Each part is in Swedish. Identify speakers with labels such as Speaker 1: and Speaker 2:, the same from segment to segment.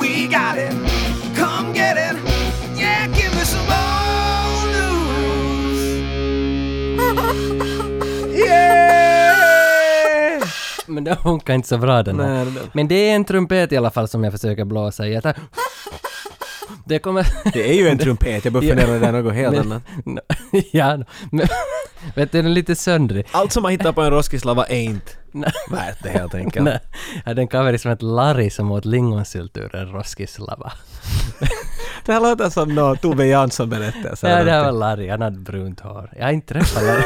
Speaker 1: We got it. Come get it. Yeah, give me some old news. Yeah!
Speaker 2: Men det funkar inte så bra den här.
Speaker 1: Nej, det där.
Speaker 2: Men det är en trumpet i alla fall som jag försöker blåsa i. Jag tar... Det kommer...
Speaker 1: Det är ju en trumpet, jag börjar
Speaker 2: Ja.
Speaker 1: fundera om det är något helt
Speaker 2: Men-
Speaker 1: annat.
Speaker 2: Nå, ja, nå, men, vet du, den är lite söndrig.
Speaker 1: Allt som man hittar på en roskislava är inte
Speaker 2: Nej.
Speaker 1: värt det helt enkelt.
Speaker 2: Nej, jag hade en cover som hette liksom Larry som åt lingonsylt ur en roskislava.
Speaker 1: Det här låter som någon Tove Jansson berättelse.
Speaker 2: Ja, det här var Larry, han hade brunt hår. Jag har inte träffat Larry.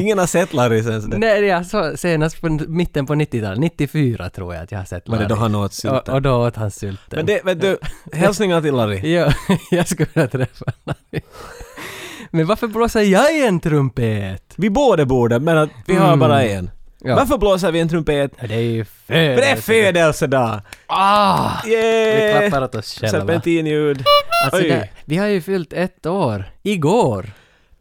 Speaker 1: Ingen har sett Larry sen sådär.
Speaker 2: Nej, jag så senast på mitten på 90-talet, 94 tror jag att jag har sett
Speaker 1: Var
Speaker 2: Larry.
Speaker 1: det då han åt
Speaker 2: och,
Speaker 1: sylten?
Speaker 2: och då åt han sylten.
Speaker 1: Men det, vet du, hälsningar till Larry.
Speaker 2: Ja, jag skulle vilja träffa Larry. Men varför blåser jag i en trumpet?
Speaker 1: Vi båda borde, men att vi har
Speaker 2: Mm.
Speaker 1: bara en.
Speaker 2: Ja.
Speaker 1: Varför blåser vi en trumpet?
Speaker 2: Ja, Det är ju födelse.
Speaker 1: För det är födelsedag!
Speaker 2: Ah! Vi
Speaker 1: Yeah!
Speaker 2: klappar åt oss själva.
Speaker 1: Serpentinljud.
Speaker 2: Alltså
Speaker 1: Oj.
Speaker 2: det, vi har ju fyllt ett år. Igår!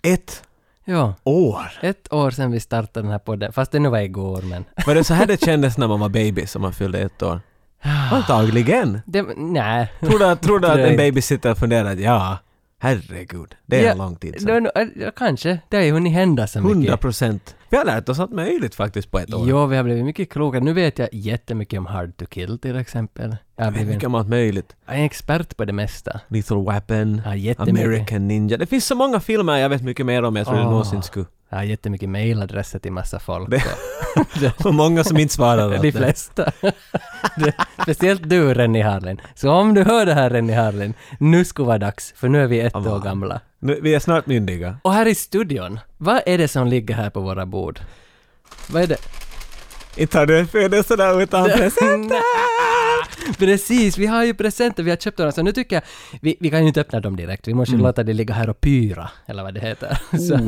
Speaker 1: Ett
Speaker 2: Ja,
Speaker 1: år!
Speaker 2: ett år sedan vi startade den här podden. Fast det nu var igår men...
Speaker 1: Var det så här det kändes när man var baby som man fyllde ett år?
Speaker 2: Ah.
Speaker 1: Antagligen.
Speaker 2: Det, nej.
Speaker 1: Tror du att, tror du
Speaker 2: Tror
Speaker 1: att
Speaker 2: jag
Speaker 1: en
Speaker 2: inte.
Speaker 1: baby sitter och funderar att ja, herregud, det är
Speaker 2: Ja,
Speaker 1: en lång tid
Speaker 2: Nå,
Speaker 1: sedan.
Speaker 2: nå, eh, ja, kanske. Det har ju hunnit hända så mycket.
Speaker 1: 100 procent. Vi har lärt oss allt möjligt faktiskt på ett år.
Speaker 2: Ja, vi har blivit mycket klokare. Nu vet jag jättemycket om Hard to Kill till exempel. Jag har
Speaker 1: Vi
Speaker 2: blivit
Speaker 1: mycket om allt möjligt.
Speaker 2: jag är expert på det mesta.
Speaker 1: Little Weapon,
Speaker 2: Ja, jättemycket.
Speaker 1: American Ninja. Det finns så många filmer jag vet mycket mer om än jag trodde
Speaker 2: Åh.
Speaker 1: någonsin skulle.
Speaker 2: Jag har jättemycket mailadresser till massa folk.
Speaker 1: Det-
Speaker 2: och- Det-
Speaker 1: Och många som inte svarar åt
Speaker 2: De
Speaker 1: det.
Speaker 2: flesta. Det- Speciellt du Renny Harlin. Så om du hör det här Renny Harlin, nu skulle vara dags, för nu är vi ett
Speaker 1: Amma.
Speaker 2: år gamla.
Speaker 1: Nu, vi är snart myndiga.
Speaker 2: Och här i studion, vad är det som ligger här på våra bord? Vad är det?
Speaker 1: Inte har du en födelsedag utan presenter!
Speaker 2: Precis, vi har ju presenter, vi har köpt dem. Så nu tycker jag, vi, vi kan ju inte öppna dem direkt, vi
Speaker 1: Mm.
Speaker 2: måste ju låta det ligga här och pyra, eller vad det heter. Så,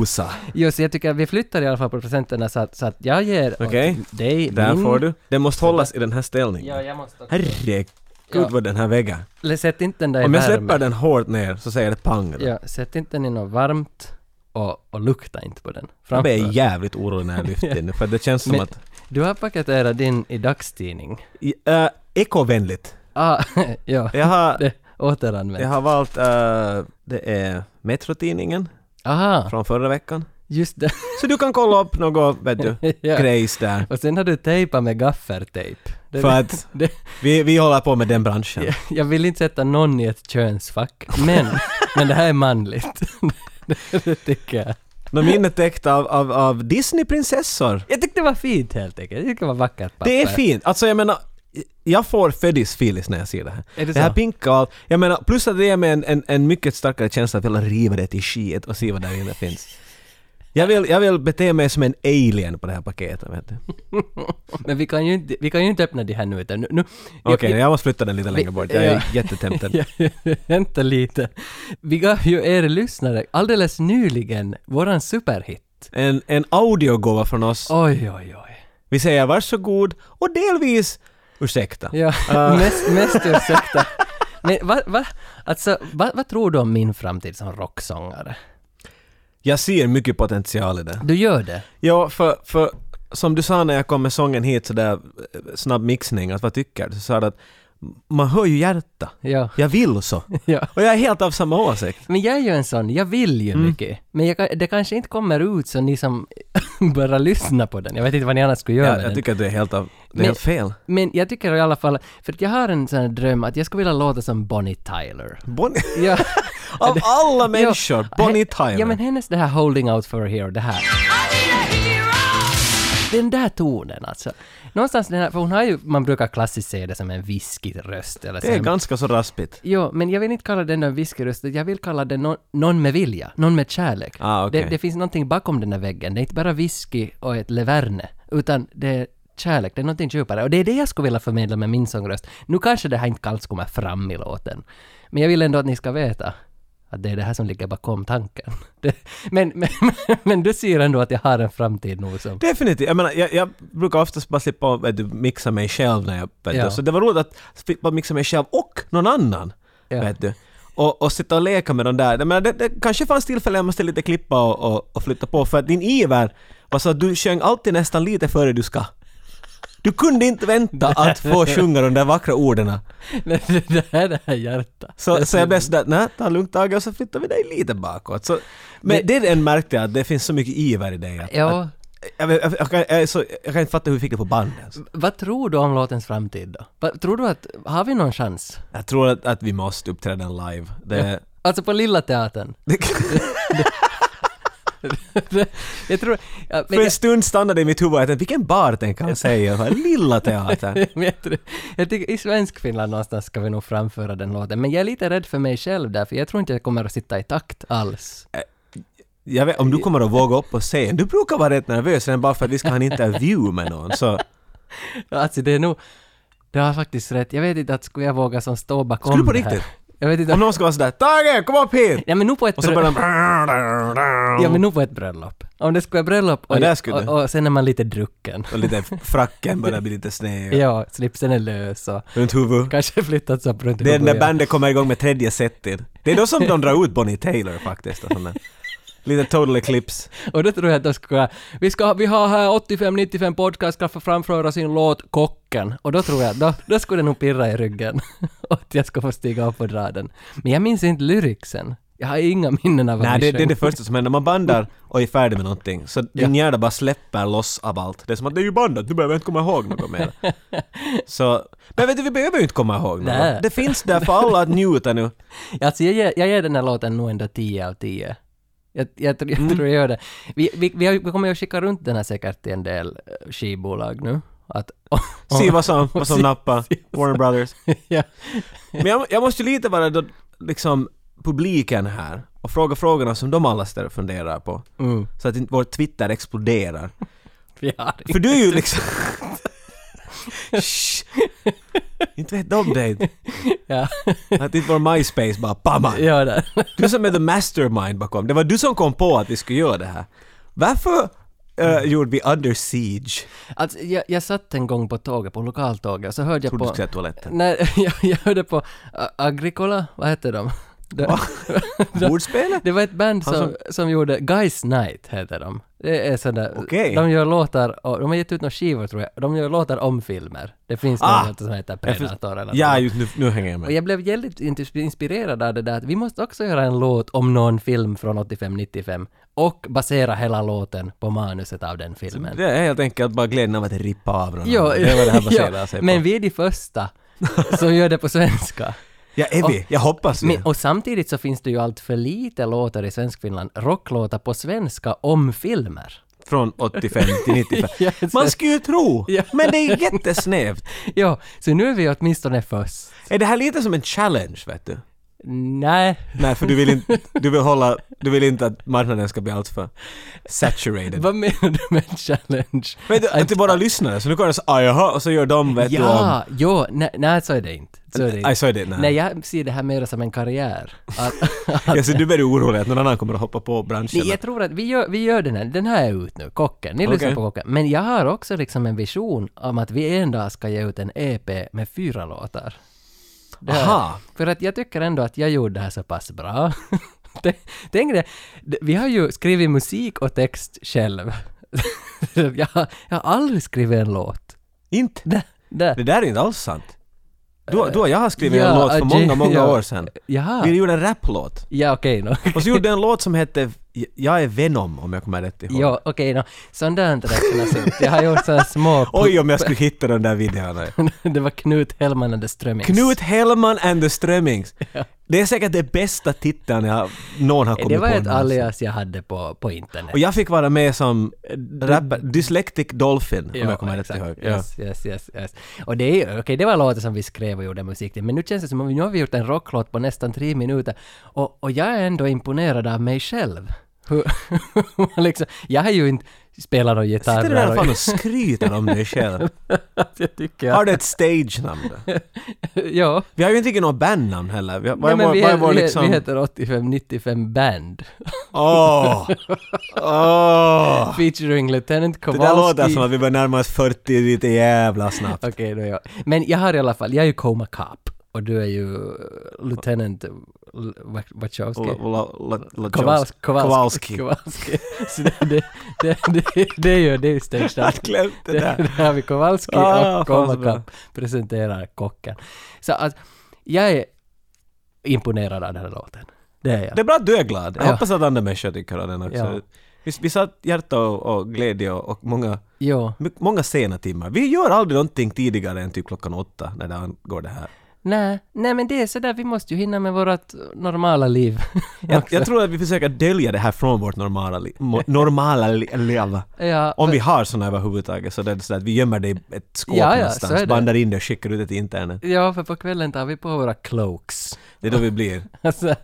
Speaker 1: Osa.
Speaker 2: jo, så jag tycker att vi flyttar i alla fall på presenterna så att, så att jag ger åt
Speaker 1: Okej.
Speaker 2: dig
Speaker 1: Där
Speaker 2: min...
Speaker 1: får du. Den måste hållas i den här ställningen.
Speaker 2: Mm. Ja, jag måste också.
Speaker 1: Herregud
Speaker 2: Ja.
Speaker 1: vad den här väggen.
Speaker 2: Eller Sätt inte den där i
Speaker 1: Om jag
Speaker 2: värme.
Speaker 1: släpper den hårt ner så säger det pang.
Speaker 2: Ja, sätt inte den i något varmt och, och lukta inte på den.
Speaker 1: Jag
Speaker 2: Framför.
Speaker 1: blir jävligt orolig när jag lyfter den nu för det känns som
Speaker 2: Men-
Speaker 1: att...
Speaker 2: Du har paketerat din i dagstidning.
Speaker 1: I- äh, ekovänligt.
Speaker 2: Ah, ja.
Speaker 1: Jag har,
Speaker 2: Det, återanvänt.
Speaker 1: jag har valt, äh, det är Metrotidningen
Speaker 2: Aha,
Speaker 1: från förra veckan.
Speaker 2: just det.
Speaker 1: Så du kan kolla upp något, vet du,
Speaker 2: Ja.
Speaker 1: grejs där.
Speaker 2: Och sen har du tejpat med gaffertejp. Det-
Speaker 1: För att
Speaker 2: det-
Speaker 1: vi, vi håller på med den branschen.
Speaker 2: jag- Jag vill inte sätta någon i ett könsfack, men, men det här är manligt. Det, det tycker jag.
Speaker 1: De är täckt av, av, av Disney-prinsessor.
Speaker 2: Jag tyckte det var fint helt enkelt. Jag tyckte det var vackert papper.
Speaker 1: Det är fint. Alltså jag menar, jag får födis-feelings när jag ser det här.
Speaker 2: Är det
Speaker 1: här
Speaker 2: så?
Speaker 1: pinka och allt. Jag menar, plus att det ger mig en, en, en mycket starkare känsla av att vilja riva det till skit och se vad där inne finns. Jag vill, jag vill bete mig som en alien på det här paketet, vet du.
Speaker 2: Men vi kan ju inte, vi kan ju inte öppna det här nu utan nu... nu
Speaker 1: Okej, jag måste flytta den lite längre bort. Jag är
Speaker 2: Ja.
Speaker 1: jättetämtad.
Speaker 2: Ja, Vänta lite. Vi gav ju er lyssnare alldeles nyligen våran superhit.
Speaker 1: En, en audiogåva från oss.
Speaker 2: Oj, oj, oj.
Speaker 1: Vi säger varsågod och delvis ursäkta.
Speaker 2: Ja, mest, mest ursäkta. Men vad, va, alltså, vad, vad tror du om min framtid som rocksångare?
Speaker 1: Jag ser mycket potential i det.
Speaker 2: Du gör det?
Speaker 1: Ja, för, för som du sa när jag kom med sången hit sådär eh, snabb mixning, att vad tycker du? Så sa du att man hör ju hjärta.
Speaker 2: Ja.
Speaker 1: Jag vill så.
Speaker 2: ja.
Speaker 1: Och jag är helt av samma åsikt.
Speaker 2: Men jag är ju en sån, jag vill ju mycket. Men jag, kan- det kanske inte kommer ut så ni som bara lyssnar på den. Jag vet inte vad ni annars skulle göra
Speaker 1: Jag,
Speaker 2: med den.
Speaker 1: jag tycker att du är helt av... Det är
Speaker 2: Men-
Speaker 1: helt fel.
Speaker 2: Men jag tycker i alla fall, för att jag har en sån här dröm att jag skulle vilja låta som Bonnie Tyler.
Speaker 1: Bonnie,
Speaker 2: Ja.
Speaker 1: av alla
Speaker 2: Ja,
Speaker 1: människor, Bonnie
Speaker 2: he-
Speaker 1: Tyler.
Speaker 2: Ja men hennes det här “Holding Out For A Hero”, det här. Den där tonen alltså. Någonstans den här, för hon har ju, man brukar klassiskt säga det som en viskig röst eller så.
Speaker 1: det är
Speaker 2: här-
Speaker 1: ganska så raspigt.
Speaker 2: Jo, men jag vill inte kalla den där viskerösten, jag vill kalla den nå- någon med vilja, någon med kärlek.
Speaker 1: Ah, okej.
Speaker 2: det, det finns någonting bakom den där väggen, det är inte bara whisky och ett leverne, utan det är kärlek, det är någonting djupare. Och det är det jag skulle vilja förmedla med min sångröst. Nu kanske det här inte alls kommer fram i låten, men jag vill ändå att ni ska veta att det är det här som ligger bakom tanken. Det, men, men, men du ser ändå att jag har en framtid nog som...
Speaker 1: Definitivt. Jag menar, jag, jag brukar oftast bara slippa vet du, mixa mig själv när jag... Vet
Speaker 2: Ja.
Speaker 1: du. Så det var roligt att slippa mixa mig själv och någon annan.
Speaker 2: Ja.
Speaker 1: Vet du. Och, och sitta och leka med de där. Jag menar, det, det kanske fanns tillfällen jag måste lite klippa och, och, och flytta på för att din iver var så att du sjöng alltid nästan lite före du ska. Du kunde inte vänta att få sjunga de där vackra orden.
Speaker 2: Men det där är det här hjärta.
Speaker 1: Så, så jag blev sådär, nej, ta lugnt Tage och så flyttar vi dig lite bakåt. Så, men det, den märkte jag, att det finns så mycket iver i dig. Att,
Speaker 2: Ja,
Speaker 1: jag, vet- jag, jag, kan- jag, är så, jag kan inte fatta hur vi fick det på bandet. alltså.
Speaker 2: vad tror du om låtens framtid då? Vad, tror du att, har vi någon chans?
Speaker 1: Jag tror att, att vi måste uppträda live. Det,
Speaker 2: Alltså på Lilla Teatern.
Speaker 1: det,
Speaker 2: jag tror... Ja, men
Speaker 1: för en stund stannade det i mitt huvud att vilken bar tänker han säga? Vad Lilla teatern.
Speaker 2: Men jag, tror, jag tycker i svensk Finland någonstans ska vi nog framföra den låten. Men jag är lite rädd för mig själv där, för jag tror inte jag kommer att sitta i takt alls.
Speaker 1: Jag vet, om du kommer att våga upp på scen. Du brukar vara rätt nervös redan bara för att vi ska ha en intervju med någon. Så
Speaker 2: Alltså det är nog... Du har faktiskt rätt. Jag vet inte att skulle jag våga som står bakom
Speaker 1: Skulle du på
Speaker 2: det här.
Speaker 1: riktigt?
Speaker 2: Jag vet inte
Speaker 1: om
Speaker 2: om...
Speaker 1: någon ska vara sådär ”Tage, kom upp hit!”
Speaker 2: Ja men nog på ett
Speaker 1: och så
Speaker 2: brö-
Speaker 1: börjar de...
Speaker 2: Ja men nog på ett bröllop. Om det skulle vara bröllop och,
Speaker 1: Ja, där skulle du.
Speaker 2: och, och sen är man lite drucken.
Speaker 1: Och lite fracken börjar bli lite sned.
Speaker 2: Ja, slipsen är lös och
Speaker 1: Runt huvudet.
Speaker 2: kanske flyttats upp runt
Speaker 1: Det är när
Speaker 2: huvudet.
Speaker 1: bandet kommer igång med tredje setet. Det är då som de drar ut Bonnie Taylor faktiskt. Och sån där. lite total eclipse.
Speaker 2: Och då tror jag att de skulle vi, ska, vi har här 85-95 podcast ska få framföra sin låt Kocken. Och då tror jag, då, då skulle det nog pirra i ryggen. och att jag ska få stiga upp och dra den. Men jag minns inte lyricsen. Jag har inga minnen av vad Mm.
Speaker 1: Nej, det,
Speaker 2: vi
Speaker 1: det är
Speaker 2: sjöng.
Speaker 1: det första som händer. Man bandar och är färdig med någonting. Så din hjärna bara släpper loss av allt. Det är som att det är ju bandat, nu behöver jag inte komma ihåg något mer. Så, men vet du, vi behöver ju inte komma ihåg
Speaker 2: Nej.
Speaker 1: något. Det finns där för alla att njuta nu.
Speaker 2: Alltså jag ger, jag ger den här låten nog ändå 10 av 10. Jag, jag, tror- jag
Speaker 1: Mm.
Speaker 2: tror jag gör det. Vi, vi, vi, har, vi kommer ju att skicka runt den här säkert till en del eh, skivbolag nu. Att,
Speaker 1: Se vad som, vad som nappar. Warner Brothers.
Speaker 2: ja.
Speaker 1: Men jag, jag måste ju lite vara då, liksom publiken här och fråga frågorna som de alla ställer och funderar på.
Speaker 2: Mm.
Speaker 1: Så att inte vår Twitter exploderar.
Speaker 2: Vi har
Speaker 1: För du är ju liksom... Shh. Inte vet de det.
Speaker 2: Ja,
Speaker 1: Att inte vår MySpace bara bamma.
Speaker 2: ja där.
Speaker 1: Du som är the mastermind bakom. Det var du som kom på att vi skulle göra det här. Varför eh, gjorde vi Under Siege?
Speaker 2: Alltså, jag, jag satt en gång på tåget, på lokaltåget, och så hörde jag
Speaker 1: Trodde du
Speaker 2: på...
Speaker 1: skulle säga toaletten.
Speaker 2: Nej, jag, jag hörde på A- Agricola, vad hette de? Det,
Speaker 1: Bordspelet?
Speaker 2: det var ett band som,
Speaker 1: Han
Speaker 2: som... gjorde Guys Night, heter de. Det är sådär,
Speaker 1: Okej.
Speaker 2: de gör låtar, och, de har gett ut några skivor tror jag, de gör låtar om filmer. Det finns
Speaker 1: Ah!
Speaker 2: någon låt som heter
Speaker 1: Jag förstår.
Speaker 2: Predator eller
Speaker 1: Ja,
Speaker 2: något.
Speaker 1: just nu, nu hänger jag
Speaker 2: Och
Speaker 1: med.
Speaker 2: jag blev väldigt int- inspirerad av det där att vi måste också göra en låt om någon film från 85-95 och basera hela låten på manuset av den filmen.
Speaker 1: Det är helt enkelt bara glädjen av att rippa av någon.
Speaker 2: Jo,
Speaker 1: det är vad det här baserar
Speaker 2: ja,
Speaker 1: sig på.
Speaker 2: Men vi är de första som gör det på svenska.
Speaker 1: ja, är vi? Jag hoppas det.
Speaker 2: Men, och samtidigt så finns det ju allt för lite låtar i Svenskfinland, rocklåtar på svenska om filmer.
Speaker 1: Från 85 till 95.
Speaker 2: Ja, så-
Speaker 1: Man skulle ju tro!
Speaker 2: Ja.
Speaker 1: Men det är jättesnävt.
Speaker 2: Ja, så nu är vi åtminstone först.
Speaker 1: Är det här lite som en challenge, vet du?
Speaker 2: Nej,
Speaker 1: Nej, för du vill inte, du vill hålla, du vill inte att marknaden ska bli alltför saturated.
Speaker 2: vad menar du med en challenge?
Speaker 1: Men det, till våra lyssnare, så nu kommer det så ah, jaha, och så gör de vet du om...
Speaker 2: Ja, jo, nej, nej så är det inte. Så är det
Speaker 1: Nej,
Speaker 2: inte.
Speaker 1: så är det. Nej.
Speaker 2: Nej, jag ser det här mer som en karriär. Att,
Speaker 1: ja, så du blir orolig att någon annan kommer att hoppa på branschen.
Speaker 2: Nej, jag tror att vi gör, vi gör den här, den här är ut nu, Kocken, ni lyssnar
Speaker 1: Okej.
Speaker 2: på Kocken. Men jag har också liksom en vision om att vi en dag ska ge ut en EP med fyra låtar. Det här-
Speaker 1: Aha.
Speaker 2: För att jag tycker ändå att jag gjorde det här så pass bra. Tänk- Tänk det, d- vi har ju skrivit musik och text själv. jag, har- jag har aldrig skrivit en låt.
Speaker 1: Inte?
Speaker 2: Där, där.
Speaker 1: Det där är inte alls sant. Du, du och jag har skrivit
Speaker 2: Ja,
Speaker 1: en låt för
Speaker 2: Ajay-
Speaker 1: många, många
Speaker 2: ja.
Speaker 1: år sedan. Vi
Speaker 2: Jaha.
Speaker 1: gjorde en raplåt.
Speaker 2: Ja, okej nå.
Speaker 1: Och så gjorde jag en låt som hette Jag är Venom, om jag kommer rätt ihåg.
Speaker 2: Ja, okej nå. Sånt där räknas inte. Jag har gjort såna små...
Speaker 1: Oj, om jag skulle hitta den där videon.
Speaker 2: det var Knut Hellman and the Strömmings.
Speaker 1: Knut Hellman and the Strömmings. Det är säkert det bästa titeln jag, någon har kommit
Speaker 2: Eh, Det var
Speaker 1: på.
Speaker 2: ett
Speaker 1: någonsin.
Speaker 2: alias jag hade på, på internet.
Speaker 1: Och jag fick vara med som rapper, Dyslectic Dolphin, om jag kommer rätt
Speaker 2: exakt.
Speaker 1: ihåg. Ja.
Speaker 2: Yes, yes, yes, yes. Och det är okej, det var låtar som vi skrev och gjorde musik till, men nu känns det som att nu har vi gjort en rocklåt på nästan tre minuter och, och jag är ändå imponerad av mig själv. Hur, liksom, jag har ju inte spelat någon gitarr.
Speaker 1: Sitter du där och
Speaker 2: och-
Speaker 1: fan och skryter om dig själv?
Speaker 2: jag tycker jag.
Speaker 1: Har du ett stage-namn då?
Speaker 2: ja.
Speaker 1: Vi har ju inte riktigt något bandnamn heller. Vi har, vad är
Speaker 2: Nej,
Speaker 1: vår,
Speaker 2: men vi,
Speaker 1: vad är
Speaker 2: he-
Speaker 1: vår
Speaker 2: vi, he-
Speaker 1: liksom...
Speaker 2: vi heter 8595 Band.
Speaker 1: Åh! Åh!
Speaker 2: Featuring Lieutenant
Speaker 1: Ah. Det
Speaker 2: Kowalski.
Speaker 1: där låter som att vi börjar närma oss 40 lite jävla snabbt.
Speaker 2: Okej, då ja. Men jag har i alla fall, jag är ju Coma Cop och du är ju eh, Lieutenant L- Wa- Wachowski.
Speaker 1: La- la- la- la-
Speaker 2: Kowals-
Speaker 1: Kowalski.
Speaker 2: Kowalski. Kowalski. Så det, det, det, det, det är ju det är ju stage
Speaker 1: Jag
Speaker 2: dive.
Speaker 1: hade glömt det
Speaker 2: Där
Speaker 1: där.
Speaker 2: har vi Kowalski
Speaker 1: Ah,
Speaker 2: och
Speaker 1: fan så bra.
Speaker 2: Komakapp presenterar kocken. Så att jag är imponerad av den här låten. Det är jag.
Speaker 1: Det är bra att du är glad. Jag
Speaker 2: Ja.
Speaker 1: hoppas att andra människor tycker om den också.
Speaker 2: Ja.
Speaker 1: Vi, vi satt hjärta och, och glädje och, och många,
Speaker 2: Jo.
Speaker 1: my- många sena timmar. Vi gör aldrig någonting tidigare än typ klockan åtta när det an- går det här.
Speaker 2: Nej, nej men det är sådär, vi måste ju hinna med vårt normala liv.
Speaker 1: Jag, jag tror att vi försöker dölja det här från vårt normala liv. Normala li- liv.
Speaker 2: ja,
Speaker 1: Om vi har såna överhuvudtaget så det är så att vi gömmer det i ett skåp
Speaker 2: Ja, ja, så
Speaker 1: någonstans,
Speaker 2: är det.
Speaker 1: bandar in det och skickar ut det till internet.
Speaker 2: ja, för på kvällen tar vi på våra cloaks.
Speaker 1: Det är då vi blir
Speaker 2: Alltså,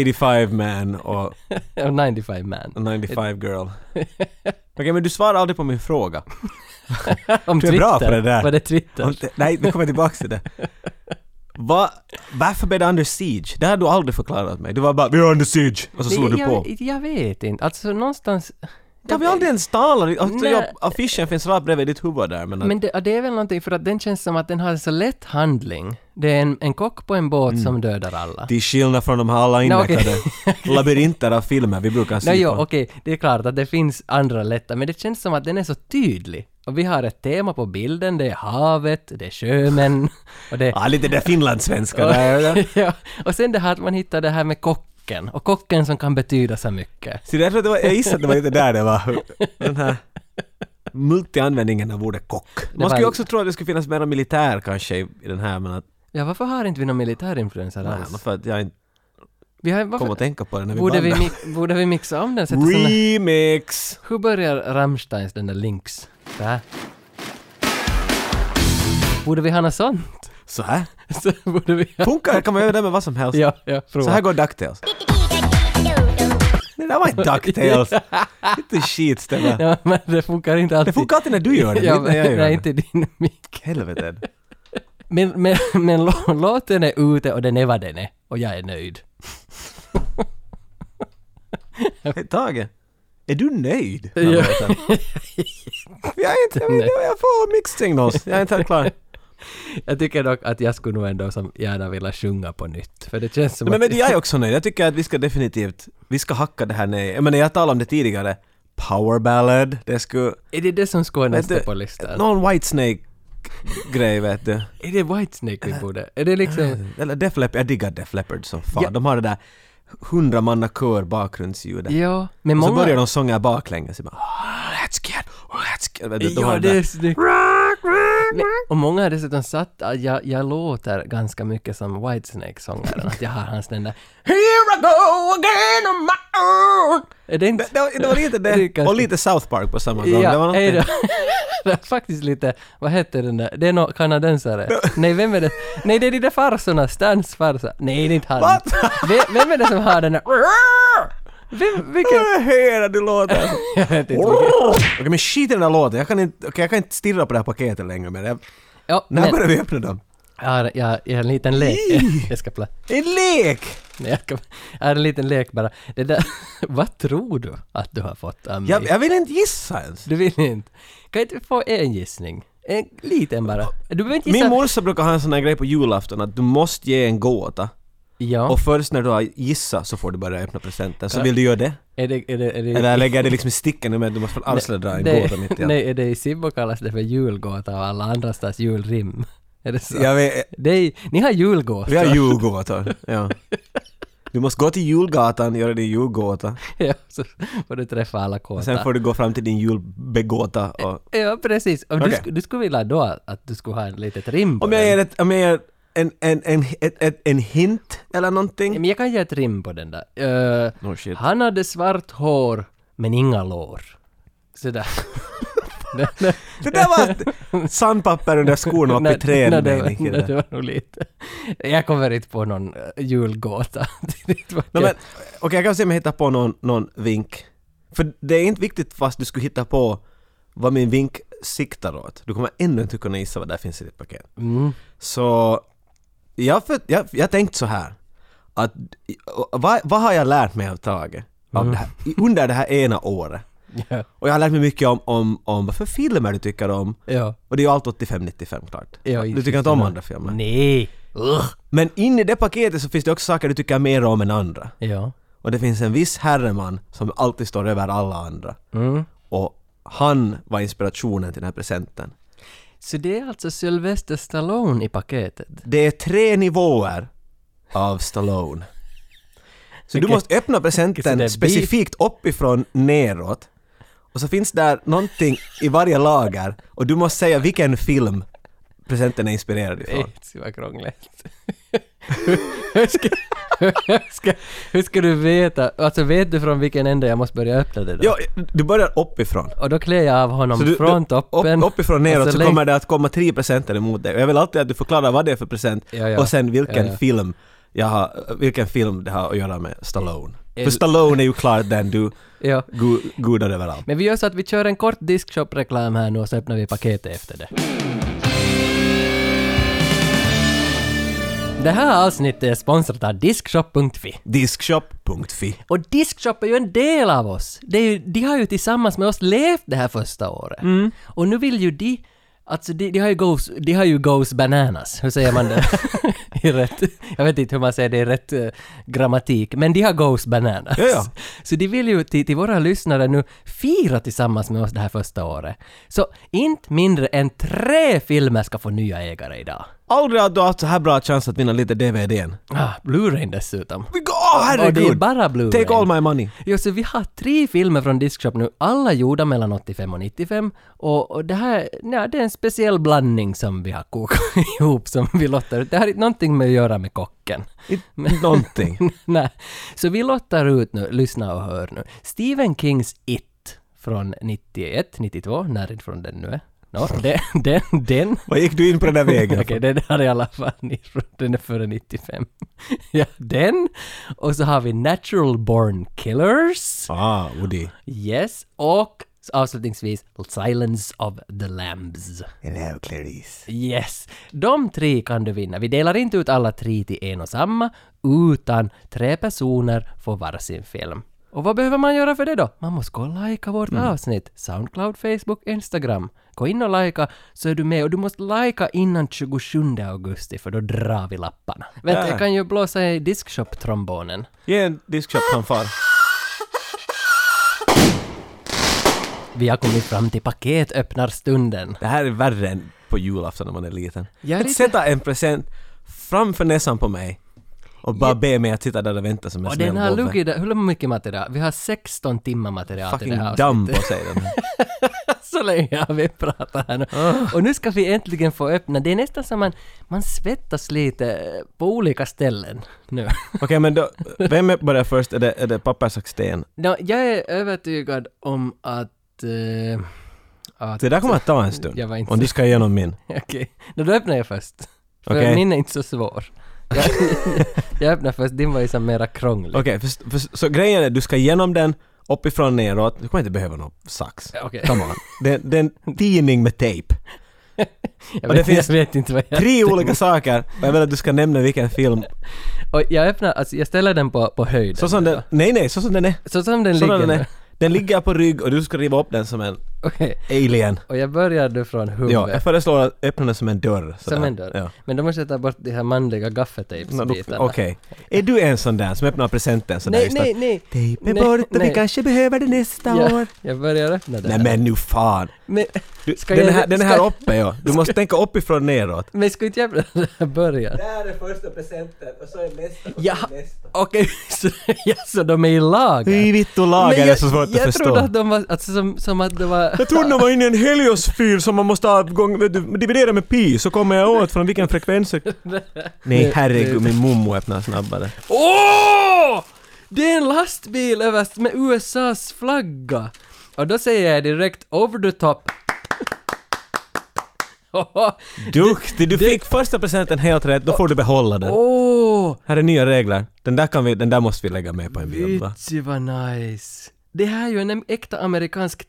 Speaker 1: 85 man och
Speaker 2: 95 Oh, man.
Speaker 1: 95 girl. Okej, men du svarar aldrig på min fråga.
Speaker 2: Om
Speaker 1: Du är bra på det där.
Speaker 2: Var det Twitter?
Speaker 1: Om det- Nej, vi kommer tillbaka till det. Va, varför blev det under siege? Det har du aldrig förklarat mig. Du var bara ”Vi är under siege” och så slog du
Speaker 2: jag,
Speaker 1: på.
Speaker 2: Jag vet inte, alltså någonstans...
Speaker 1: Kan vi aldrig ens tala? Alltså,
Speaker 2: Nej.
Speaker 1: jag, affischen finns rakt bredvid ditt huvud där men... att-
Speaker 2: Men det, det är väl någonting för att den känns som att den har en så lätt handling. Det är en, en kock på en båt
Speaker 1: Mm.
Speaker 2: som dödar alla.
Speaker 1: Till skillnad från de här alla
Speaker 2: Nej, okej.
Speaker 1: invecklade labyrinter av filmer vi brukar se
Speaker 2: Nej, jo,
Speaker 1: på.
Speaker 2: okej, det är klart att det finns andra lätta, men det känns som att den är så tydlig. Och vi har ett tema på bilden, det är havet, det är sjömän och det...
Speaker 1: Ja, lite där finlandssvenska där.
Speaker 2: Och, ja, och sen det här att man hittar det här med kocken, och kocken som kan betyda så mycket.
Speaker 1: Så jag, tror det var, jag gissar att det var lite där det var. Den här multianvändningen av ordet kock. Man skulle ju
Speaker 2: var-
Speaker 1: också tro att det skulle finnas mer militär kanske i i den här men att...
Speaker 2: Ja, varför har inte vi någon militärinfluencer
Speaker 1: Nej,
Speaker 2: alls?
Speaker 1: för att jag inte
Speaker 2: Vi har,
Speaker 1: kom
Speaker 2: varför,
Speaker 1: att tänka på det när vi
Speaker 2: borde, vi,
Speaker 1: bandade.
Speaker 2: mi- borde vi mixa om den? Sätta såna-
Speaker 1: Remix!
Speaker 2: Hur börjar Rammsteins den där Lynx? Så här. Borde vi ha något sånt?
Speaker 1: Så här.
Speaker 2: Så borde vi ha...
Speaker 1: Funkar kan man göra det med vad som helst.
Speaker 2: Ja, ja, prova.
Speaker 1: Så här går DuckTales. Det där var inte DuckTales. Lite skit stämmer.
Speaker 2: Ja, men det funkar inte alltid.
Speaker 1: Det funkar alltid när du gör det,
Speaker 2: ja,
Speaker 1: inte när jag
Speaker 2: men-
Speaker 1: gör
Speaker 2: Nej,
Speaker 1: det.
Speaker 2: inte din mick.
Speaker 1: Helvete.
Speaker 2: Men, men, men lå- låten är ute och den är vad den är. Och jag är nöjd.
Speaker 1: Hej Tage, är du nöjd?
Speaker 2: Ja.
Speaker 1: Jag är inte, jag, vet, jag får mixsignals. Jag är inte helt klar.
Speaker 2: Jag tycker dock att jag skulle nog ändå som gärna vilja sjunga på nytt. För det känns som
Speaker 1: Men, men
Speaker 2: att...
Speaker 1: det är jag också nöjd. Jag tycker att vi ska definitivt, vi ska hacka det här ner. Jag menar, jag talade om det tidigare. Power ballad, det skulle...
Speaker 2: Är det det som ska vara
Speaker 1: vet
Speaker 2: nästa
Speaker 1: du,
Speaker 2: på listan?
Speaker 1: Någon Whitesnake-grej vet du.
Speaker 2: Är det Whitesnake
Speaker 1: Äh.
Speaker 2: vi borde... Är det liksom...
Speaker 1: Eh, Eller Def Leppard, jag diggar Def Leppard som fan.
Speaker 2: Ja.
Speaker 1: De har det där hundramannakör bakgrundsljudet.
Speaker 2: Ja, men
Speaker 1: Så
Speaker 2: många...
Speaker 1: börjar de sjunga baklänges. Jag bara, "Oh, Let's get, oh, let's get. Vet du, de har
Speaker 2: Ja,
Speaker 1: där-
Speaker 2: det är snyggt.
Speaker 1: Rock, rock,
Speaker 2: Men, och många har dessutom satt att jag, jag låter ganska mycket som Whitesnake-sångaren, att jag har hans den där
Speaker 1: Here I go again on my own.
Speaker 2: Är det inte...
Speaker 1: Det var, det var lite
Speaker 2: Det är
Speaker 1: det.
Speaker 2: ganska-
Speaker 1: Och lite South Park på samma gång. det var
Speaker 2: Ja,
Speaker 1: någonting-
Speaker 2: hej då. Det är faktiskt lite, vad heter den där, det är någon kanadensare. Nej, vem är det? Nej, det är de där farsorna, Stans farsa. Nej, det är inte han.
Speaker 1: Vad?
Speaker 2: Vem, vem är det som har den där... Vem, vilken...
Speaker 1: Vad är det du låter?
Speaker 2: Jag vet inte.
Speaker 1: Okej men skit i den där låten, jag kan inte, okej, jag kan inte stirra på det här paketet längre men jag,
Speaker 2: Ja,
Speaker 1: när
Speaker 2: men,
Speaker 1: börjar vi öppna dem?
Speaker 2: jag har, jag har en liten lek. Jag ska pla...
Speaker 1: En lek!
Speaker 2: Nej, jag, kan... jag har en liten lek bara. Det där... Vad tror du att du har fått av mig?
Speaker 1: Jag, jag vill inte gissa ens.
Speaker 2: Du vill inte? Kan inte vi få en gissning? En liten bara. Du behöver inte gissa.
Speaker 1: Min morsa brukar ha en sån här grej på julafton att du måste ge en gåta
Speaker 2: Ja.
Speaker 1: och först när du har gissat så får du börja öppna presenten. Så vill du göra det?
Speaker 2: är det... Är det, är det
Speaker 1: Eller lägger jag det liksom i sticken med att du måste väl alls dra en
Speaker 2: det-
Speaker 1: gåta mitt i allt?
Speaker 2: Nej, är det i Sibbo kallas det för julgåta och alla andra stads julrim. Är det så?
Speaker 1: Jag vet,
Speaker 2: Det är, ni har julgåta.
Speaker 1: Vi har julgåtor, ja. Du måste gå till julgatan, göra din julgåta.
Speaker 2: ja, så får du träffa alla kåta.
Speaker 1: Sen får du gå fram till din julbegåta och...
Speaker 2: Ja, precis. Om du,
Speaker 1: Okej.
Speaker 2: sk- du skulle vilja då att du skulle ha en litet rim på
Speaker 1: Om jag
Speaker 2: den.
Speaker 1: ger, ett, om jag ger en, en, en, ett, ett, en hint eller
Speaker 2: Ja,
Speaker 1: någonting.
Speaker 2: Men jag kan ge ett rim på den där. Eh,
Speaker 1: No shit.
Speaker 2: han hade svart hår, men inga lår. Sådär. Nej, nej.
Speaker 1: Det där var sandpapper under skorna uppe i
Speaker 2: Nej, nej, det var-
Speaker 1: träden
Speaker 2: nej, det var nog lite. Jag kommer inte på någon eh, julgåta. Det är inte
Speaker 1: no,
Speaker 2: vackert.
Speaker 1: Okej, jag kan se om jag hittar på någon, någon vink. För det är inte viktigt fast du skulle hitta på vad min vink siktar åt. Du kommer ännu inte kunna gissa vad där finns i ditt paket.
Speaker 2: Mm.
Speaker 1: Så jag, för, jag, jag tänkt så här. Att, vad, vad har jag lärt mig av Tage? Av det här, under det här ena året.
Speaker 2: Ja.
Speaker 1: Och jag har lärt mig mycket om, om, om vad för filmer du tycker om.
Speaker 2: ja.
Speaker 1: Och det är ju allt 85-95 klart.
Speaker 2: Ja,
Speaker 1: du
Speaker 2: inte
Speaker 1: tycker inte om
Speaker 2: sådär.
Speaker 1: andra filmer.
Speaker 2: Nej. Ugh.
Speaker 1: Men in i det paketet så finns det också saker du tycker mer om än andra.
Speaker 2: Ja.
Speaker 1: Och det finns en viss herreman som alltid står över alla andra.
Speaker 2: Mm.
Speaker 1: Och han var inspirationen till den här presenten.
Speaker 2: Så det är alltså Sylvester Stallone i paketet?
Speaker 1: Det är tre nivåer av Stallone. Så du
Speaker 2: Okej.
Speaker 1: måste öppna
Speaker 2: Vilken sån där
Speaker 1: presenten
Speaker 2: beef.
Speaker 1: specifikt uppifrån neråt. Och så finns där någonting i varje lager och du måste säga vilken film presenten är inspirerad ifrån.
Speaker 2: Det var krångligt. hur, ska, hur, ska, hur ska du veta? Alltså vet du från vilken ände jag måste börja öppna det då?
Speaker 1: Ja, du börjar uppifrån.
Speaker 2: Och då klär jag av honom
Speaker 1: Så du- du,
Speaker 2: från
Speaker 1: upp-
Speaker 2: toppen. Alltså,
Speaker 1: Uppifrån neråt
Speaker 2: och
Speaker 1: så
Speaker 2: läng-
Speaker 1: kommer det att komma tre presenter emot dig. Och jag vill alltid att du förklarar vad det är för present
Speaker 2: Ja, ja.
Speaker 1: och sen vilken
Speaker 2: Ja, ja.
Speaker 1: film jag har, vilken film det har att göra med Stallone.
Speaker 2: El-
Speaker 1: För Stallone är ju klart den du
Speaker 2: Ja.
Speaker 1: go, godar överallt.
Speaker 2: Men vi gör så att vi kör en kort diskshop-reklam här nu och så öppnar vi paketet efter det. Det här avsnittet är sponsrat av Diskshop.fi.
Speaker 1: Diskshop.fi
Speaker 2: Och Diskshop är ju en del av oss. Det är ju, de har ju tillsammans med oss levt det här första året.
Speaker 1: Mm.
Speaker 2: Och nu vill ju de... Alltså de, de har ju goes, de har ju goes bananas. Hur säger man det? I rätt, jag vet inte hur man säger det i rätt eh, grammatik. Men de har goes bananas.
Speaker 1: Ja, ja.
Speaker 2: Så de vill ju till, till våra lyssnare nu fira tillsammans med oss det här första året. Så inte mindre än tre filmer ska få nya ägare idag.
Speaker 1: Aldrig har du haft så här bra chans att vinna lite DVDn.
Speaker 2: Ah, Blu-rayn dessutom.
Speaker 1: Vi går- Åh herregud!
Speaker 2: Och det är bara Blu-ray.
Speaker 1: Take all my money.
Speaker 2: Ja, så vi har tre filmer från Diskshop nu, alla gjorda mellan 85 och 95. Och, och det här, nej, det är en speciell blandning som vi har kokat ihop som vi lottar ut. Det har inte någonting med att göra med kocken.
Speaker 1: It, någonting.
Speaker 2: nej. Så vi lottar ut nu, lyssna och hör nu. Stephen Kings It från 91, 92, när från den nu är. Nå, den, den, den.
Speaker 1: Vad gick du in på den där vägen?
Speaker 2: Okej, den har i alla fall ifrån, den är före 95. ja, den. Och så har vi Natural Born Killers.
Speaker 1: Ah, Woody.
Speaker 2: Yes, och avslutningsvis Silence of the Lambs.
Speaker 1: Hello Clarice.
Speaker 2: Yes, de tre kan du vinna. Vi delar inte ut alla tre till en och samma, utan tre personer får varsin film. Och vad behöver man göra för det då? Man måste gå och lajka vårt avsnitt. Soundcloud, Facebook, Instagram. Gå in och lajka så är du med. Och du måste lajka innan 27 augusti för då drar vi lapparna. Vänta,
Speaker 1: Där.
Speaker 2: jag kan ju blåsa i diskshop-trombonen.
Speaker 1: Ge en diskshop-fanfar.
Speaker 2: Vi har kommit fram till paketöppnarstunden.
Speaker 1: Det här är värre än på julafton när man är liten.
Speaker 2: Jag är
Speaker 1: att
Speaker 2: lite-
Speaker 1: sätta en present framför näsan på mig och bara be mig att sitta där och vänta som en
Speaker 2: Och
Speaker 1: snäll
Speaker 2: den har
Speaker 1: gubbe.
Speaker 2: luggit där, hur mycket material? Vi har 16 timmar material till
Speaker 1: Fucking
Speaker 2: det här
Speaker 1: damm på
Speaker 2: avsnittet.
Speaker 1: sig den.
Speaker 2: Så länge har vi pratat här nu.
Speaker 1: Ah.
Speaker 2: Och nu ska vi äntligen få öppna. Det är nästan som man, man svettas lite eh, på olika ställen nu.
Speaker 1: Okej men då, vem är- börjar först? Är det, är det papper, sax, sten?
Speaker 2: Nå, jag är övertygad om att... eh, att
Speaker 1: Det där kommer att ta en stund.
Speaker 2: Jag var inte
Speaker 1: Om du ska igenom min.
Speaker 2: Okej, Nå, då öppnar jag först. För
Speaker 1: Okej.
Speaker 2: min är inte så svår. Jag, jag öppnar först, din var ju som mera krånglig.
Speaker 1: Okej, för, för, så grejen är att du ska igenom den uppifrån neråt. Du kommer inte behöva någon sax.
Speaker 2: Okej.
Speaker 1: Come on. Det, det är en tidning med tejp.
Speaker 2: Jag,
Speaker 1: och
Speaker 2: vet,
Speaker 1: det finns
Speaker 2: jag vet inte vad jag...
Speaker 1: Tre olika saker och jag vill att du ska nämna vilken film.
Speaker 2: Och jag öppnar, alltså jag ställer den på, på höjden.
Speaker 1: Så som den, nej nej, så som den är.
Speaker 2: Så som den
Speaker 1: Så
Speaker 2: ligger
Speaker 1: den,
Speaker 2: nu.
Speaker 1: är. den ligger på rygg och du ska riva upp den som en
Speaker 2: Okej,
Speaker 1: alien.
Speaker 2: och jag börjar då från
Speaker 1: Ja, jag
Speaker 2: huvudet.
Speaker 1: föreslår att öppna den som en dörr. sådär.
Speaker 2: som en dörr.
Speaker 1: Ja.
Speaker 2: Men då måste jag ta bort de här manliga
Speaker 1: Nå, då- Okej.
Speaker 2: gaffatejpsbitarna.
Speaker 1: Är du en sån där som öppnar presenten sådär
Speaker 2: Nej,
Speaker 1: just
Speaker 2: nej,
Speaker 1: att
Speaker 2: nej!
Speaker 1: Tejpen
Speaker 2: Nej,
Speaker 1: bort och vi
Speaker 2: nej.
Speaker 1: kanske behöver det nästa
Speaker 2: Ja,
Speaker 1: år.
Speaker 2: jag börjar öppna
Speaker 1: Nej
Speaker 2: den.
Speaker 1: men nu fan.
Speaker 2: Men,
Speaker 1: Du,
Speaker 2: Ska
Speaker 1: den,
Speaker 2: jag-
Speaker 1: här, den här
Speaker 2: ska-
Speaker 1: uppe ja. Du måste tänka uppifrån neråt.
Speaker 2: men ska inte jag börja- börja?
Speaker 1: Där är första presenten och så är nästa och
Speaker 2: Ja, okej, så, ja, så de är i lager?
Speaker 1: Hur vittu lagen är
Speaker 2: jag,
Speaker 1: så svårt
Speaker 2: jag
Speaker 1: att förstå.
Speaker 2: trodde att de var, alltså som, som att det var...
Speaker 1: Jag trodde de var inne i en heliosfyr som man måste ha gång, vet du, dividera med pi så kommer jag åt från vilken frekvens. Nej herregud, min mommo öppnar snabbare.
Speaker 2: Åh! Det är en lastbil överst med USAs flagga! Och då säger jag direkt over the top. Åh,
Speaker 1: Duktig! Du
Speaker 2: det-
Speaker 1: fick första presenten helt rätt, då får du behålla den.
Speaker 2: Åh!
Speaker 1: Här är nya regler. Den där, kan vi, den där måste vi lägga med på en bild va?
Speaker 2: Vitsi vad nice! Det här är ju en äkta amerikansk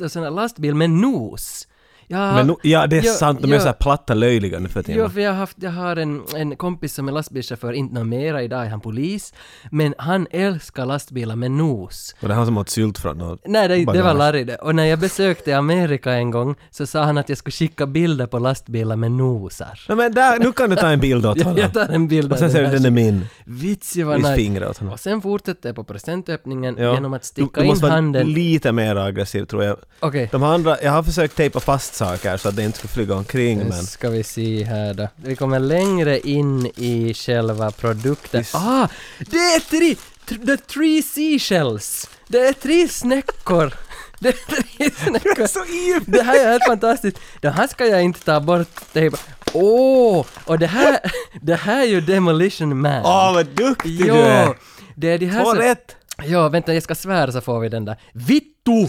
Speaker 2: äh, sån här lastbil med nos. Ja,
Speaker 1: Men nu, ja, det är
Speaker 2: jo,
Speaker 1: sant, de är
Speaker 2: jo.
Speaker 1: så här platta löjliga nu för
Speaker 2: Jo,
Speaker 1: tiden.
Speaker 2: för jag har, haft, jag har en, en kompis som är lastbilschaufför, inte någon mera, idag är han polis. Men han älskar lastbilar med nos.
Speaker 1: Och det är han som åt sylt från och...
Speaker 2: Nej, det, det var
Speaker 1: Bagage.
Speaker 2: Larry det. Och när jag besökte Amerika en gång så sa han att jag skulle skicka bilder på lastbilar med nosar.
Speaker 1: Nej men där, nu kan du ta en bild åt
Speaker 2: Jag,
Speaker 1: honom.
Speaker 2: jag tar en bild
Speaker 1: Och sen
Speaker 2: av
Speaker 1: säger du
Speaker 2: här.
Speaker 1: den är min.
Speaker 2: Vitsi vad
Speaker 1: Vis
Speaker 2: nice.
Speaker 1: fingret åt honom.
Speaker 2: Och sen fortsätter jag på presentöppningen
Speaker 1: Ja.
Speaker 2: genom att
Speaker 1: Du,
Speaker 2: sticka
Speaker 1: du
Speaker 2: in
Speaker 1: måste vara
Speaker 2: handen.
Speaker 1: lite mer aggressiv tror jag.
Speaker 2: Okej,
Speaker 1: De andra, jag har försökt tejpa fast saker så att det inte ska flyga omkring
Speaker 2: nu
Speaker 1: men...
Speaker 2: ska vi se här då. Vi kommer längre in i själva produkten.
Speaker 1: Visst.
Speaker 2: Ah! Det är tre... tr- The three seashells! Det är tre snäckor! Det är tre snäckor!
Speaker 1: Så i-
Speaker 2: Det här är helt fantastiskt. Det här ska jag inte ta bort. Det är bara- Åh! och det här, det här är ju Demolition Man.
Speaker 1: Åh vad duktig du
Speaker 2: jo!
Speaker 1: är!
Speaker 2: Det är de här
Speaker 1: Två
Speaker 2: som...
Speaker 1: rätt!
Speaker 2: Ja, vänta, jag ska svära så får vi den där. Vittu!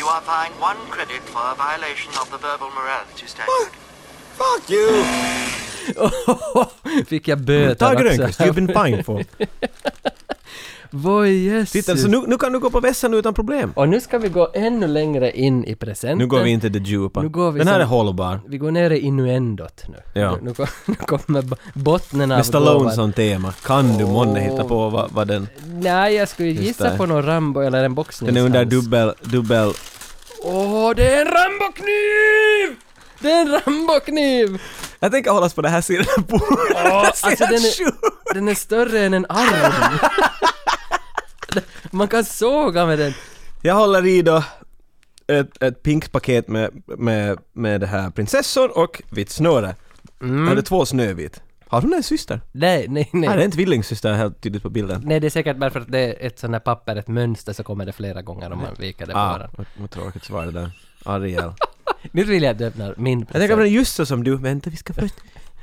Speaker 3: You are fined one credit for a violation of the verbal morality standard.
Speaker 1: Fuck you!
Speaker 2: Fick jag böter
Speaker 1: Tage
Speaker 2: också.
Speaker 1: Rönnqvist, you've been fined for.
Speaker 2: Voi jösses.
Speaker 1: Titta, så nu, nu kan du gå på vässan utan problem.
Speaker 2: Och nu ska vi gå ännu längre in i presenten.
Speaker 1: Nu går vi inte det djupa.
Speaker 2: Nu går vi
Speaker 1: Den här
Speaker 2: som-
Speaker 1: är hållbar.
Speaker 2: Vi går ner i innuendot nu.
Speaker 1: Ja.
Speaker 2: Nu, nu, kom- nu kommer bo- bottnen av
Speaker 1: Med Stallone
Speaker 2: gåvan.
Speaker 1: som tema. Kan du månne
Speaker 2: Åh.
Speaker 1: hitta på vad, vad den...
Speaker 2: Nej, jag skulle
Speaker 1: Just
Speaker 2: gissa
Speaker 1: det.
Speaker 2: på någon Rambo eller en boxning.
Speaker 1: Den är under dubbel... dubbel...
Speaker 2: Åh, det är en Rambokniv! Det är en Rambokniv!
Speaker 1: Jag tänker hållas på den här sidan av bordet.
Speaker 2: Åh,
Speaker 1: Det ser
Speaker 2: alltså den
Speaker 1: helt
Speaker 2: är,
Speaker 1: sjukt.
Speaker 2: den är större än en arm. Man kan såga med den.
Speaker 1: Jag håller i då ett, ett pinkt paket med, med, med det här prinsessor och vitt snöre. Mm. Hade två snövit. Har hon en syster?
Speaker 2: Nej, nej, nej.
Speaker 1: Nej, det är en tvillingsyster helt tydligt på bilden.
Speaker 2: Nej, det är säkert bara för att det är ett sånt här papper, ett mönster, så kommer det flera gånger om man viker det
Speaker 1: Ah,
Speaker 2: bara.
Speaker 1: vad- vad tråkigt svar det där. Ariel.
Speaker 2: Nu vill jag att du öppnar min
Speaker 1: Jag tänker på
Speaker 2: present.
Speaker 1: den just så som du. Vänta, vi ska först...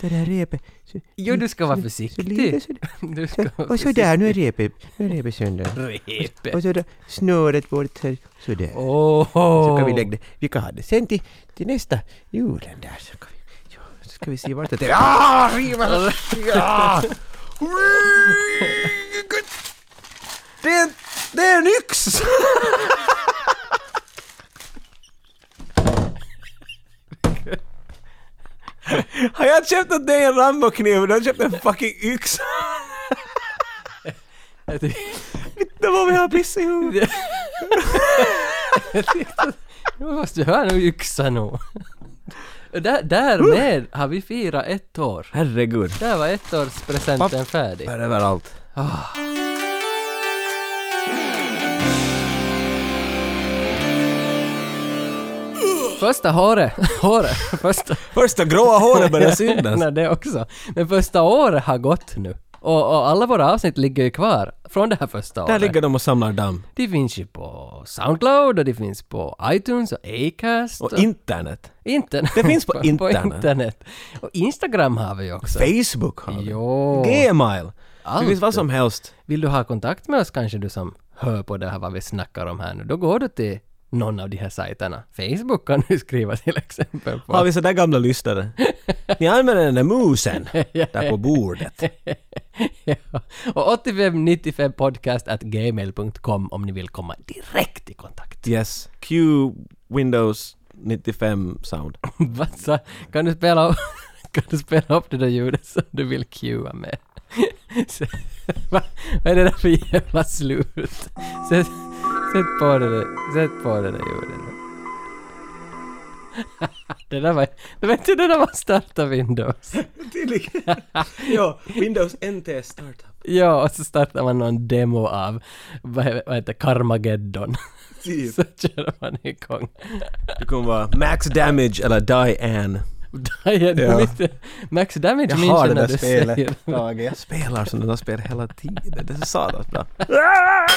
Speaker 1: Det där repet. Så-
Speaker 2: Jo, du ska vara
Speaker 1: så lite,
Speaker 2: försiktig.
Speaker 1: så-
Speaker 2: Du ska vara
Speaker 4: Och så
Speaker 2: försiktig.
Speaker 4: där, nu är repet, nu är repet sönder.
Speaker 2: Repe.
Speaker 4: Och så då snöret bort här, så där.
Speaker 2: Åh!
Speaker 4: Så kan vi lägga det, vi kan ha det sen till, till nästa julen där. Så kan vi, ja, så ska vi se vart det är. Ah, riva! Ja!
Speaker 1: Det är, det är en yx! Har jag köpt åt dig en Rambo-kniv och du har köpt en fucking yxa? Det var vad jag pissade ihop.
Speaker 2: Nu måste du höra nu yxa nu. Där, därmed har vi firat ett år.
Speaker 1: Herregud.
Speaker 2: Där var ettårspresenten färdig.
Speaker 1: Här överallt.
Speaker 2: Första håret, håret, första...
Speaker 1: Första gråa håret börjar synas.
Speaker 2: Nej, det också. Men första året har gått nu. Och, och alla våra avsnitt ligger ju kvar från det här första
Speaker 1: Där
Speaker 2: året.
Speaker 1: ligger de och samlar damm.
Speaker 2: Det finns ju på Soundcloud och det finns på iTunes och Acast.
Speaker 1: Och internet.
Speaker 2: internet.
Speaker 1: Det finns på
Speaker 2: på
Speaker 1: internet.
Speaker 2: internet. Och Instagram har vi ju också.
Speaker 1: Facebook har vi.
Speaker 2: Jo.
Speaker 1: Gmail. Det
Speaker 2: Allt.
Speaker 1: finns vad som helst.
Speaker 2: Vill du ha kontakt med oss kanske du som hör på det här vad vi snackar om här nu, då går du till någon av de här sajterna. Facebook kan du skriva till exempel på.
Speaker 1: Har vi sådär gamla lyssnare? Ni använder den där musen där på bordet.
Speaker 2: ja. Och 8595 podcast at gmail.com om ni vill komma direkt i kontakt.
Speaker 1: Yes. Q Windows 95 sound.
Speaker 2: Vad sa- kan du spela upp, kan du spela upp det där ljudet som du vill cuea med? Så- Va, vad är det där för jävla slut? Sätt, sätt på det där, sätt på det där ljudet. Det där var, det var inte det där var starta Windows.
Speaker 1: ja, Windows NT startup.
Speaker 2: Ja, och så startar man någon demo av, vad, he- vad heter Karmageddon. Så kör man igång.
Speaker 1: Det kommer vara Max Damage eller Diane.
Speaker 2: Dian,
Speaker 1: Ja.
Speaker 2: ja. Max Damage
Speaker 1: Jag
Speaker 2: minns
Speaker 1: har det
Speaker 2: jag
Speaker 1: där
Speaker 2: när du
Speaker 1: spelet.
Speaker 2: säger.
Speaker 1: Tage, Jag spelar sådana där spel hela tiden. Det är så satans bra.